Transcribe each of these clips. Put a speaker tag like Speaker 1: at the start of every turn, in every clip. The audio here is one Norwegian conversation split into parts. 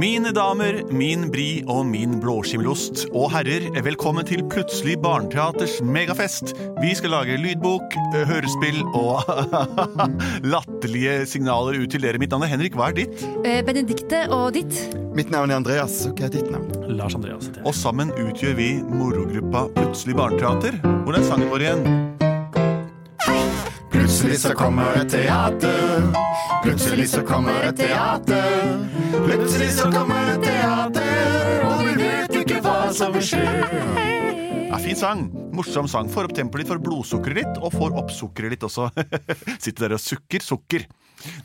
Speaker 1: Mine damer, min bri og min blåskimmelost og herrer, velkommen til Plutselig barneteaters megafest. Vi skal lage lydbok, ø, hørespill og latterlige signaler ut til dere. Mitt navn er Henrik, hva er ditt?
Speaker 2: Eh, Benedikte og ditt.
Speaker 3: Mitt navn er Andreas. og Hva er ditt navn?
Speaker 4: Lars Andreas heter jeg.
Speaker 1: Og sammen utgjør vi morogruppa Plutselig barneteater. Hvor er sangen vår igjen?
Speaker 3: Plutselig så kommer et teater. Plutselig så kommer et teater. Plutselig så kommer et teater, og vi vet ikke hva som vil skje.
Speaker 1: Ja, fin sang. Morsom sang. Får opp tempoet litt, får blodsukkeret litt, og får opp sukkeret litt også. Sitter dere og sukker sukker.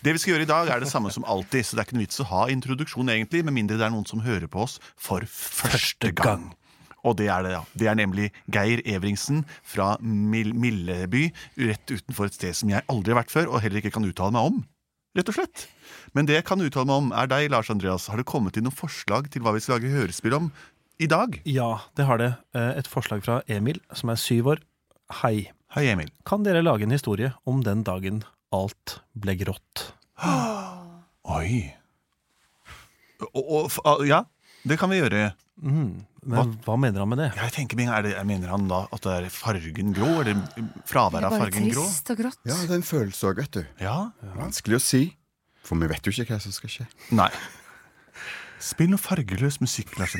Speaker 1: Det vi skal gjøre i dag, er det samme som alltid, så det er ikke noe vits å ha introduksjon, egentlig, med mindre det er noen som hører på oss for første gang. Og det er det, ja. Det er nemlig Geir Evringsen fra Mil Milleby, rett utenfor et sted som jeg aldri har vært før, og heller ikke kan uttale meg om. Rett og slett. Men det jeg kan uttale meg om, er deg, Lars Andreas. Har det kommet inn noen forslag til hva vi skal lage hørespill om i dag?
Speaker 4: Ja, det har det. Eh, Et forslag fra Emil, som er syv år. Hei.
Speaker 1: Hei, Emil.
Speaker 4: Kan dere lage en historie om den dagen alt ble grått?
Speaker 1: Oi. Og, og, f- ah, ja, det kan vi gjøre.
Speaker 4: Men hva mener han med det?
Speaker 1: Jeg tenker, med en gang, er det, jeg Mener han da at det er fargen grå? Eller fraværet av
Speaker 2: bare
Speaker 1: fargen grå?
Speaker 2: trist og grått.
Speaker 3: Ja, det er en følelse òg, vet du.
Speaker 1: Ja?
Speaker 3: Vanskelig å si. For vi vet jo ikke hva som skal skje.
Speaker 1: Nei. Spill noe fargeløs musikk, Lars.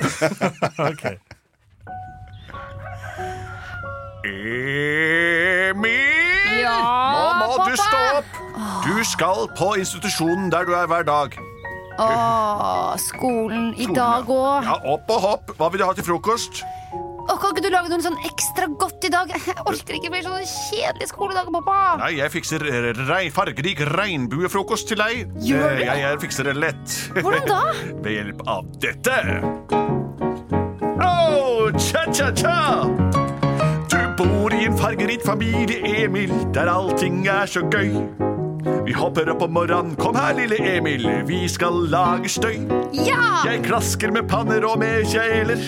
Speaker 1: Emil! Nå må du stå opp! Du skal på institusjonen der du er hver dag.
Speaker 2: Åh, skolen i dag òg.
Speaker 1: Ja, Opp og hopp. Hva vil du ha til frokost?
Speaker 2: Kan ikke du lage noe sånn ekstra godt i dag? Jeg orker ikke mer sånne kjedelige skoledager, pappa.
Speaker 1: Nei, jeg fikser eh, rei, fargerik regnbuefrokost til deg.
Speaker 2: Gjør
Speaker 1: Eh,
Speaker 2: det.
Speaker 1: Jeg, jeg fikser det lett.
Speaker 2: Hvordan da?
Speaker 1: Ved hjelp av dette. Oh, cha-cha-cha! Du bor i en fargerik familie, Emil, der allting er så gøy. Vi hopper opp om morgenen. Kom her, lille Emil, vi skal lage støy.
Speaker 2: Ja!
Speaker 1: Jeg klasker med panner og med kjeler.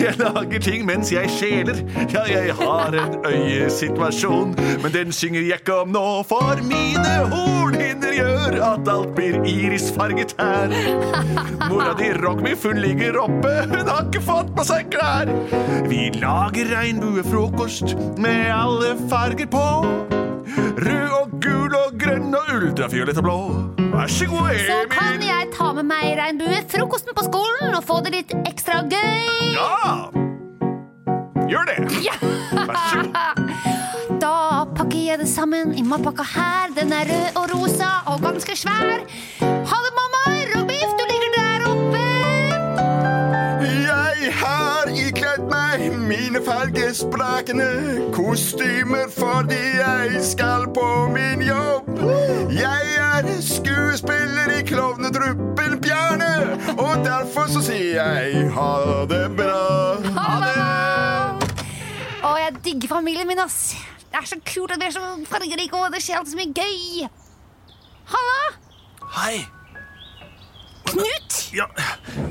Speaker 1: Jeg lager ting mens jeg skjeler. Ja, jeg har en øyesituasjon, men den synger jeg ikke om nå, for mine hornhinner gjør at alt blir irisfarget her. Mora di Rock Me Full ligger oppe, hun har ikke fått på seg klær. Vi lager regnbuefrokost med alle farger på. Rød og gul og grønn og ultrafiolett og blå. Vær så god,
Speaker 2: Så kan
Speaker 1: Emil.
Speaker 2: jeg ta med meg regnbuefrokosten på skolen og få det litt ekstra gøy.
Speaker 1: Ja! Gjør det! Vær så god.
Speaker 2: Da pakker jeg det sammen i matpakka her. Den er rød og rosa og ganske svær. Ha det, mamma. Rockbiff, du ligger der oppe.
Speaker 3: Jeg har ikledd meg mine fargesprakende kostymer fordi jeg skal på min jobb. Jeg er skuespiller i klovnedruppen Bjarne, og derfor så sier jeg ha det bra.
Speaker 2: Ha det! Å, jeg digger familien min, ass. Det er så kult at vi er så fargerike, og det skjer alltid så mye gøy. Halla!
Speaker 1: Hei.
Speaker 2: Knut!
Speaker 1: Ja.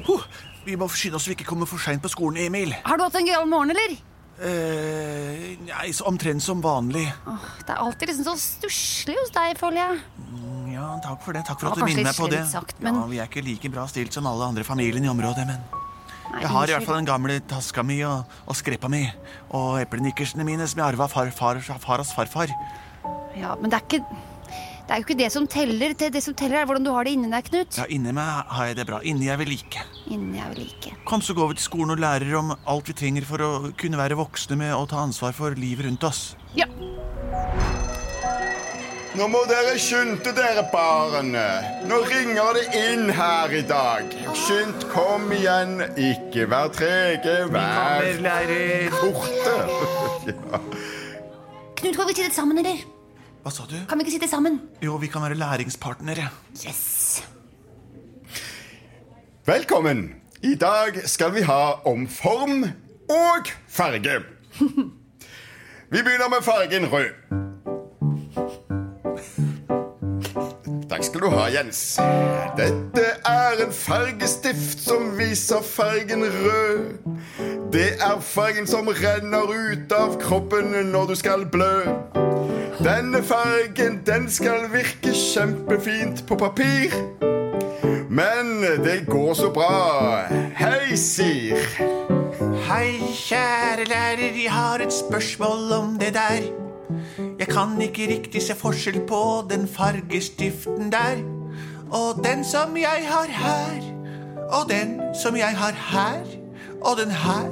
Speaker 1: Huh. Vi må skynde oss så vi ikke kommer for seint på skolen, Emil.
Speaker 2: Har du hatt en gøyal morgen, eller?
Speaker 1: Eh, nei, så omtrent som vanlig.
Speaker 2: Åh, det er alltid liksom så stusslig hos deg, føler jeg.
Speaker 1: Ja, Takk for det. Takk for
Speaker 2: Ja,
Speaker 1: at du
Speaker 2: kanskje
Speaker 1: minner
Speaker 2: litt
Speaker 1: meg på det.
Speaker 2: slemt sagt, men-
Speaker 1: Ja, Vi er ikke like bra stilt som alle andre i familien i området, men
Speaker 2: Nei,
Speaker 1: jeg har i
Speaker 2: unnskyld.
Speaker 1: hvert fall den gamle taska mi og, og skreppa mi og eplenikkersene mine som jeg arva av far, far, faras farfar.
Speaker 2: Ja, men det er ikke det er jo ikke det som teller. Det, det som teller, er hvordan du har det inni deg, Knut.
Speaker 1: Ja, inni meg har jeg det bra. Inni jeg vil like.
Speaker 2: Inni er jo like.
Speaker 1: Kom, så går vi til skolen og lærer om alt vi trenger for å kunne være voksne med å ta ansvar for livet rundt oss.
Speaker 2: Ja.
Speaker 3: Nå må dere skynde dere, barene. Nå ringer det inn her i dag. Skynd, kom igjen. Ikke vær trege, vær
Speaker 1: lærer.
Speaker 3: borte. Ja.
Speaker 2: Knut, kan vi sitte sammen, eller?
Speaker 1: Hva sa du?
Speaker 2: Kan vi ikke sitte sammen?
Speaker 1: Jo, vi kan være læringspartnere.
Speaker 2: Yes.
Speaker 3: Velkommen. I dag skal vi ha om form og farge. Vi begynner med fargen rød. skal du ha, Jens. Dette er en fargestift som viser fargen rød. Det er fargen som renner ut av kroppen når du skal blø. Denne fargen, den skal virke kjempefint på papir. Men det går så bra. Hei, sier.
Speaker 5: Hei, kjære lærer, jeg har et spørsmål om det der. Jeg kan ikke riktig se forskjell på den fargestiften der. Og den som jeg har her, og den som jeg har her, og den her,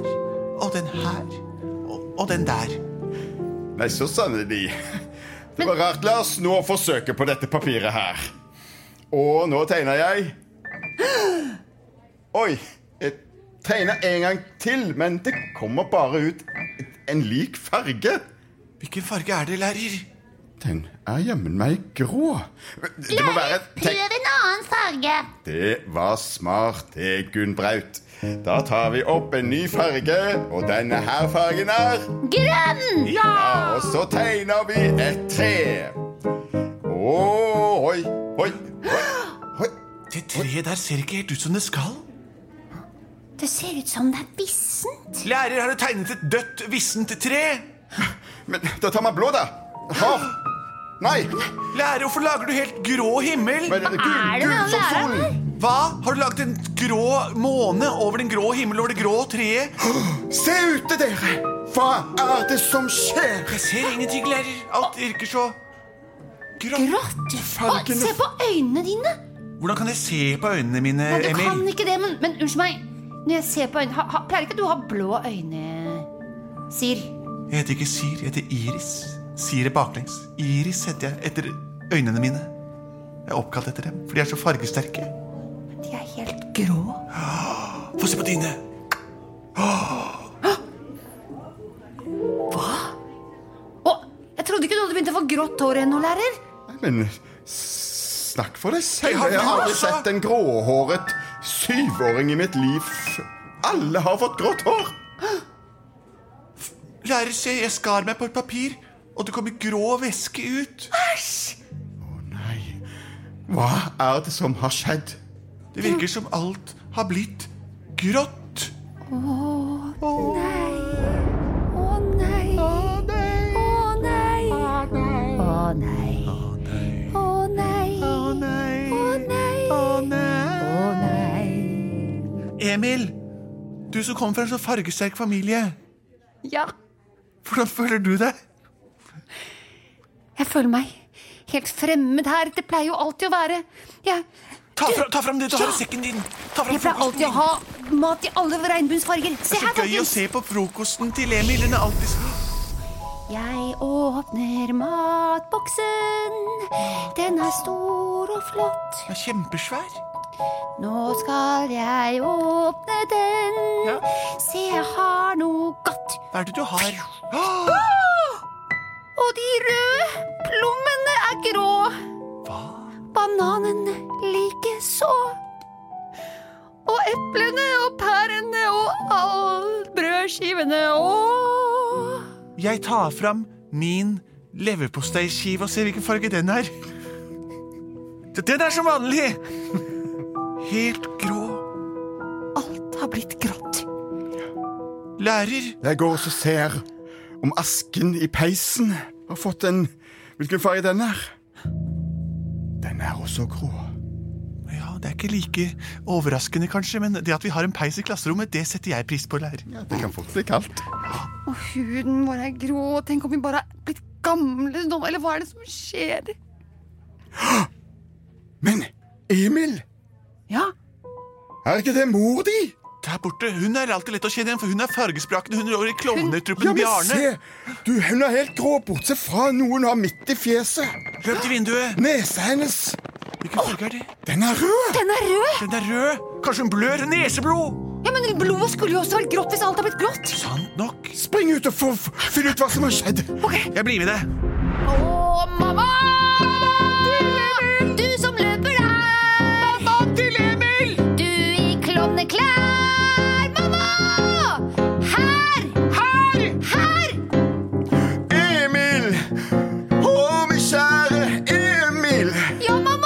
Speaker 5: og den her, og, og den der.
Speaker 3: Nei, så sannelig. Det var rart. La oss nå forsøke på dette papiret her. Og nå tegner jeg Oi. Jeg tegner en gang til, men det kommer bare ut en lik farge.
Speaker 5: Hvilken farge er det, lærer?
Speaker 3: Den er jammen meg grå. Det må være et teg-
Speaker 2: Prøv en annen farge.
Speaker 3: Det var smart, det, Gunn Braut. Da tar vi opp en ny farge, og denne her fargen er
Speaker 2: Grønn!
Speaker 3: Ja, og så tegner vi et tre. Åh, oi, oi, oi, oi.
Speaker 5: Det treet der ser ikke helt ut som det skal.
Speaker 2: Det ser ut som det er vissent.
Speaker 5: Lærer, har du tegnet et dødt, vissent tre?
Speaker 3: Men da tar man blå, da. Hav. Nei,
Speaker 5: Lærer, hvorfor lager du helt grå himmel?
Speaker 3: men
Speaker 2: er
Speaker 3: gul,
Speaker 2: det
Speaker 3: gul
Speaker 2: med
Speaker 3: som
Speaker 2: læreren,
Speaker 3: solen.
Speaker 5: Hva? Har du laget en grå måne over den grå himmelen over det grå treet?
Speaker 3: Se ute, dere. Hva er det som skjer?
Speaker 5: Jeg ser ingenting, lærer. Alt virker så grått.
Speaker 2: Grått. Å, se på øynene dine!
Speaker 5: Hvordan kan jeg se på øynene mine,
Speaker 2: Nei,
Speaker 1: Eh,
Speaker 2: du kan
Speaker 5: Emil?
Speaker 2: ikke det, men, men unnskyld meg. Når jeg ser på øynene ha, ha, Pleier ikke du å ha blå øyne, Sir?
Speaker 5: Jeg heter ikke Sir, jeg heter Iris. Sir er baklengs. Iris heter jeg etter øynene mine. Jeg er oppkalt etter dem, for de er så fargesterke.
Speaker 2: De er helt grå.
Speaker 5: Få se på dine.
Speaker 2: Å, jeg trodde ikke du hadde begynt å få grått hår ennå, lærer.
Speaker 3: Men s- snakk for deg selv.
Speaker 5: har
Speaker 3: Jeg har aldri
Speaker 5: rosa.
Speaker 3: sett en gråhåret syvåring i mitt liv. Alle har fått grått hår.
Speaker 5: Lærer, se, jeg skar meg på et papir, og det kommer grå væske ut.
Speaker 3: Nei, hva er det som har skjedd?
Speaker 5: Det virker som alt har blitt grått.
Speaker 2: Å nei. Å nei. Å nei. Å nei. Å nei. Å nei. Å nei. Å nei.
Speaker 5: Emil, du som kommer fra en så fargesterk familie,
Speaker 2: Ja,
Speaker 5: hvordan føler du deg?
Speaker 2: jeg føler meg helt fremmed her. Det pleier jo alltid å være Jeg,
Speaker 5: Ta, fra, ta fram det du har i sekken din. Ta fram
Speaker 2: jeg pleier
Speaker 5: frokosten
Speaker 2: alltid å
Speaker 5: din.
Speaker 2: ha mat i alle regnbuensfarger. Se
Speaker 5: Det
Speaker 2: her,
Speaker 5: er så gøy å
Speaker 2: folkens.
Speaker 5: se på frokosten til Emil. Den er alltid så
Speaker 2: Jeg åpner matboksen. Den er stor og flott.
Speaker 5: den er kjempesvær.
Speaker 2: Nå skal jeg åpne den.
Speaker 5: Ja.
Speaker 2: Se, jeg har noe godt.
Speaker 5: Hva er det du har?
Speaker 2: Og de røde plommene er grå.
Speaker 5: Hva?
Speaker 2: Bananen likeså. Og eplene og pærene og alle brødskivene og
Speaker 5: Jeg tar fram min leverposteiskive og ser hvilken farge den er. D- Den er som vanlig. Helt grå.
Speaker 2: Alt har blitt grått.
Speaker 5: Lærer,
Speaker 3: Jeg går og så ser om asken i peisen har fått en Hvilken farge den er? Den er også grå.
Speaker 5: Ja, Det er ikke like overraskende, kanskje, men det at vi har en peis i klasserommet, det setter jeg pris på, lærer.
Speaker 3: Ja, det kan fort bli kaldt.
Speaker 2: Og huden vår er grå. Tenk om vi bare er blitt gamle nå, eller hva er det som skjer?
Speaker 3: Men Emil,
Speaker 2: Ja,
Speaker 3: er ikke det mor di?
Speaker 5: Der borte, Hun er alltid lett å kjenne igjen, for hun er fargesprakende. Hun er i
Speaker 3: Ja,
Speaker 5: klovnetruppen
Speaker 3: men
Speaker 5: Bjarne.
Speaker 3: se! Du, hun er helt grå, bortsett fra noe hun har midt i fjeset.
Speaker 5: Løp til vinduet.
Speaker 3: Nesa hennes,
Speaker 5: Hvilken farge er det?
Speaker 3: den er rød!
Speaker 2: den er rød!
Speaker 5: Den er rød. Kanskje hun blør? Neseblod.
Speaker 2: Ja, men Blodet skulle jo også vært grått hvis alt har blitt grått.
Speaker 5: Sant nok.
Speaker 3: Spring ut og få, finn ut hva som har skjedd.
Speaker 5: Jeg blir med deg.
Speaker 2: Å, mamma! Du som løper der! Mamma til Emil! Du i klovneklær! Mamma! Her! Her! Her!
Speaker 3: Emil! Å, min kjære Emil!
Speaker 2: Ja, mamma!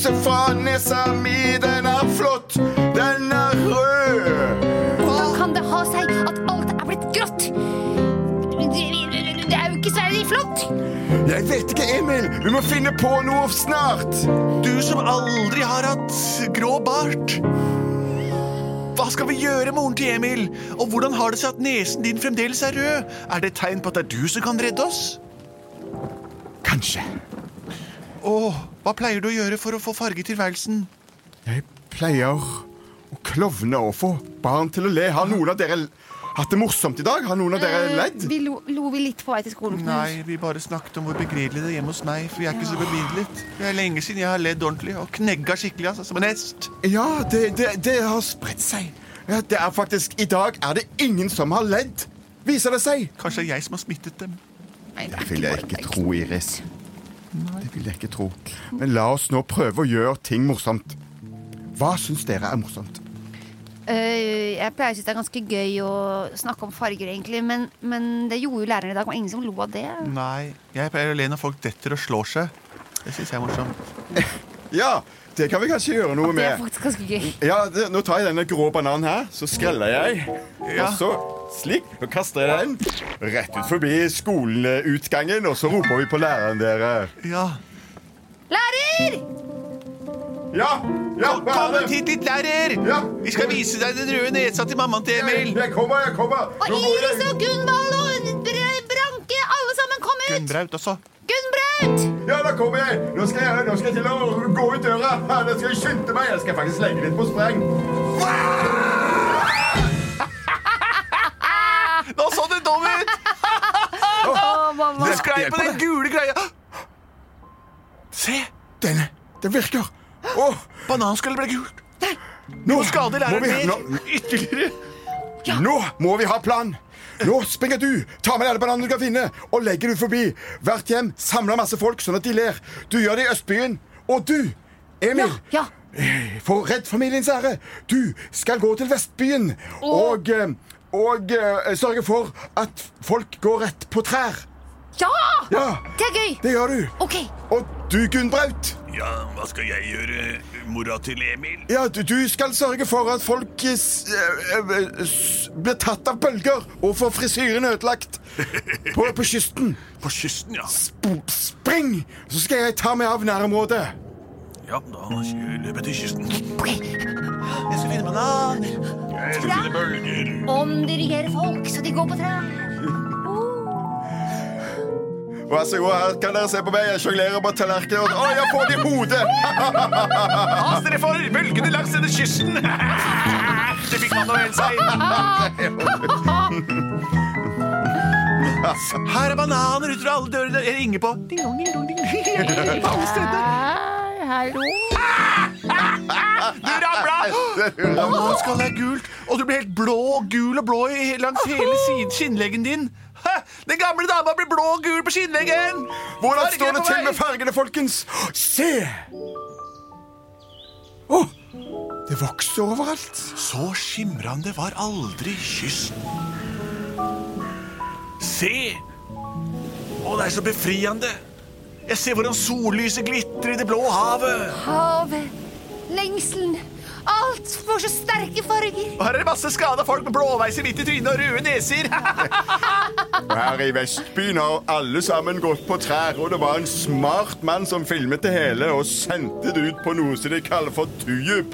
Speaker 3: Se fra nesa mi, den er flott. Den er rød.
Speaker 2: Hvordan kan det ha seg at alt er blitt grått? Det er jo ikke særlig flott.
Speaker 3: Jeg vet ikke, Emil. Vi må finne på noe snart.
Speaker 1: Du som aldri har hatt grå bart. Hva skal vi gjøre, moren til Emil? Og hvordan har det seg at nesen din fremdeles er rød? Er det et tegn på at det er du som kan redde oss?
Speaker 3: Kanskje.
Speaker 1: Åh, hva pleier du å gjøre for å få farge i tilværelsen?
Speaker 3: Jeg pleier å klovne og få barn til å le. Har noen av dere hatt det morsomt i dag? Har noen av dere ledd?
Speaker 2: Vi lo, lo vi litt på vei til skolen. Knut.
Speaker 1: Nei, vi bare snakket om hvor begredelig det er hjemme hos meg, for jeg er ikke så bevidlet. Det er lenge siden jeg har ledd ordentlig og knegga skikkelig, altså, som en hest.
Speaker 3: Ja, det, det, det har spredt seg. Ja, det er faktisk, I dag er det ingen som har ledd, viser det seg.
Speaker 1: Kanskje det er jeg som har smittet dem.
Speaker 2: Nei, det er
Speaker 3: Det vil jeg
Speaker 2: bare-
Speaker 3: ikke tro, Iris. Det vil jeg ikke tro. Men la oss nå prøve å gjøre ting morsomt. Hva syns dere er morsomt?
Speaker 2: Øh, jeg pleier å synes det er ganske gøy å snakke om farger, egentlig, men, men det gjorde jo læreren i dag. Det var ingen som lo av det.
Speaker 1: Nei, jeg pleier å le når folk detter og slår seg. Det syns jeg er morsomt.
Speaker 3: Ja, det kan vi kanskje gjøre noe
Speaker 2: Det er
Speaker 3: med.
Speaker 2: faktisk ganske gøy.
Speaker 3: Ja, det, Nå tar jeg denne grå bananen her, så skreller jeg. Og så slik, og kaster jeg den rett ut forbi skoleutgangen, og så roper vi på læreren dere.
Speaker 1: Ja.
Speaker 2: Lærer!
Speaker 3: Ja! Ja! hva
Speaker 1: Kom
Speaker 3: er det?
Speaker 1: hit litt, lærer!
Speaker 3: Ja.
Speaker 1: Vi skal vise deg den røde nesa til mammaen til Emil.
Speaker 3: Jeg kommer, jeg kommer!
Speaker 2: Og
Speaker 3: Nå går
Speaker 2: Iris
Speaker 3: jeg.
Speaker 2: og Gunvald og Br- Branke, alle sammen, kom ut!
Speaker 1: Gunnbraut også.
Speaker 2: Gunnbraut!
Speaker 3: Ja, da kommer jeg! Nå skal jeg, nå skal jeg til å gå ut døra. Ja, Nå skal jeg skynde meg. Jeg skal faktisk legge litt på spreng.
Speaker 1: Nå så du dum
Speaker 3: Ah,
Speaker 1: ut! Du sklei på den gule greia. Se!
Speaker 3: Denne, den virker. Åh,
Speaker 1: Bananskallet ble gult.
Speaker 3: nå
Speaker 1: Nå skader læreren
Speaker 3: må vi-
Speaker 1: mer.
Speaker 3: nå- Ytterligere. Nå må vi ha plan. Nå springer du, tar med deg alle bananene du kan finne, og legger du forbi. Hvert hjem samler masse folk sånn at de ler. Du gjør det i Østbyen. Og du, Emil,
Speaker 2: Ja,
Speaker 3: eh, for Redd familiens ære, du skal gå til Vestbyen og, eh, og eh, sørge for at folk går rett på trær.
Speaker 2: ja!
Speaker 3: Ja,
Speaker 2: Det er gøy!
Speaker 3: det gjør du.
Speaker 2: Ok,
Speaker 3: Og du, Gunnbraut.
Speaker 1: Ja, hva skal jeg gjøre, mora til Emil?
Speaker 3: Ja, du, du skal sørge for at folk eh, s- eh, eh, s- blir tatt av bølger og får frisyren ødelagt på, på kysten.
Speaker 1: På kysten, ja.
Speaker 3: Sp- Spring, så skal jeg ta meg av nærområdet.
Speaker 1: Ja, da løper jeg til kysten.
Speaker 2: ok.
Speaker 1: Jeg skal finne bananer.
Speaker 2: Trær.
Speaker 1: Bølger.
Speaker 2: Omdirigere folk så de går på trær. Oh.
Speaker 3: Vær så god, her kan dere se på meg. Jeg sjonglerer på tallerkenen. og- Å, jeg får det i hodet!
Speaker 1: Pas dere for bølgene langs denne kysten! Det fikk man å helle seg. Her er bananer utover alle dørene jeg ringer på. Ding dong, ding dong, ding dong. På alle steder.
Speaker 2: Her, hallo.
Speaker 1: Du rabla! Nå skal det være gult, og du blir helt blå og gul og blå i- langs hele siden skinnleggen din. Hæ? Den gamle dama blir blå og gul på skinnleggen!
Speaker 3: Hvordan
Speaker 1: Farge
Speaker 3: står det
Speaker 1: på
Speaker 3: til
Speaker 1: vei.
Speaker 3: med fargene, folkens? Se! Å, det vokser overalt.
Speaker 1: Så skimrande var aldri kysten. Se! Å, det er så befriende. Jeg ser hvordan sollyset glitrer i det blå havet.
Speaker 2: Havet, lengselen, alt får så sterke farger.
Speaker 1: Og her er det masse skada folk med blåveiser midt i trynet og røde neser.
Speaker 3: Og Her i Vestbyen har alle sammen gått på trær, og det var en smart mann som filmet det hele og sendte det ut på noe som de kaller for tujup.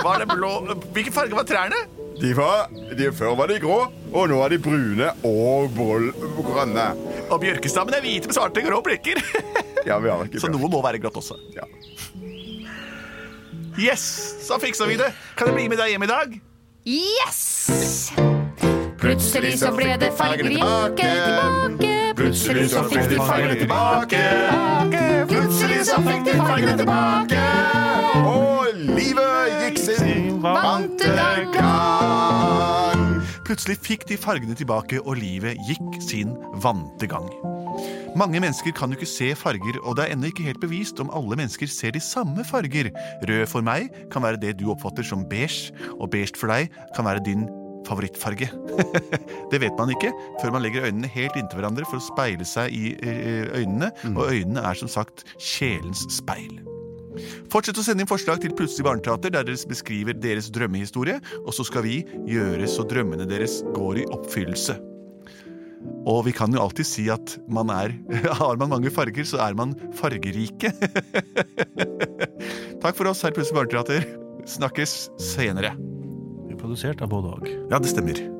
Speaker 1: Var det blå Hvilken farge var trærne?
Speaker 3: De var, de, før var de grå, og nå er de brune og bol- grønne.
Speaker 1: Og bjørkestammen er hvite med svarte grå prikker.
Speaker 3: Ja, vi har ikke
Speaker 1: Så noe må være grått også.
Speaker 3: Ja.
Speaker 1: Yes, så fiksa vi det. Kan jeg bli med deg hjem i dag?
Speaker 2: Yes!
Speaker 4: Plutselig så ble det farger i åket tilbake. Plutselig så fikk de farger
Speaker 3: tilbake.
Speaker 2: Plutselig så fikk de fargene tilbake.
Speaker 3: Og livet gikk sin vante gang.
Speaker 5: Plutselig fikk de fargene tilbake, og livet gikk sin vante gang. Mange mennesker kan jo ikke se farger, og det er ennå ikke helt bevist om alle mennesker ser de samme farger. Rød for meg kan være det du oppfatter som beige, og beige for deg kan være din favorittfarge. det vet man ikke før man legger øynene helt inntil hverandre for å
Speaker 1: Mm.
Speaker 5: speile seg i eh, øynene, og øynene er som sagt sjelens speil.
Speaker 1: Fortsett å sende inn forslag til Plutselig barneteater, der dere beskriver deres drømmehistorie, og så skal vi gjøre så drømmene deres går i oppfyllelse. Og vi kan jo alltid si at man er, har man mange farger, så er man fargerike. Takk for oss her i Plutselig barneteater. Snakkes senere.
Speaker 4: Produsert av både og.
Speaker 1: Ja, det stemmer.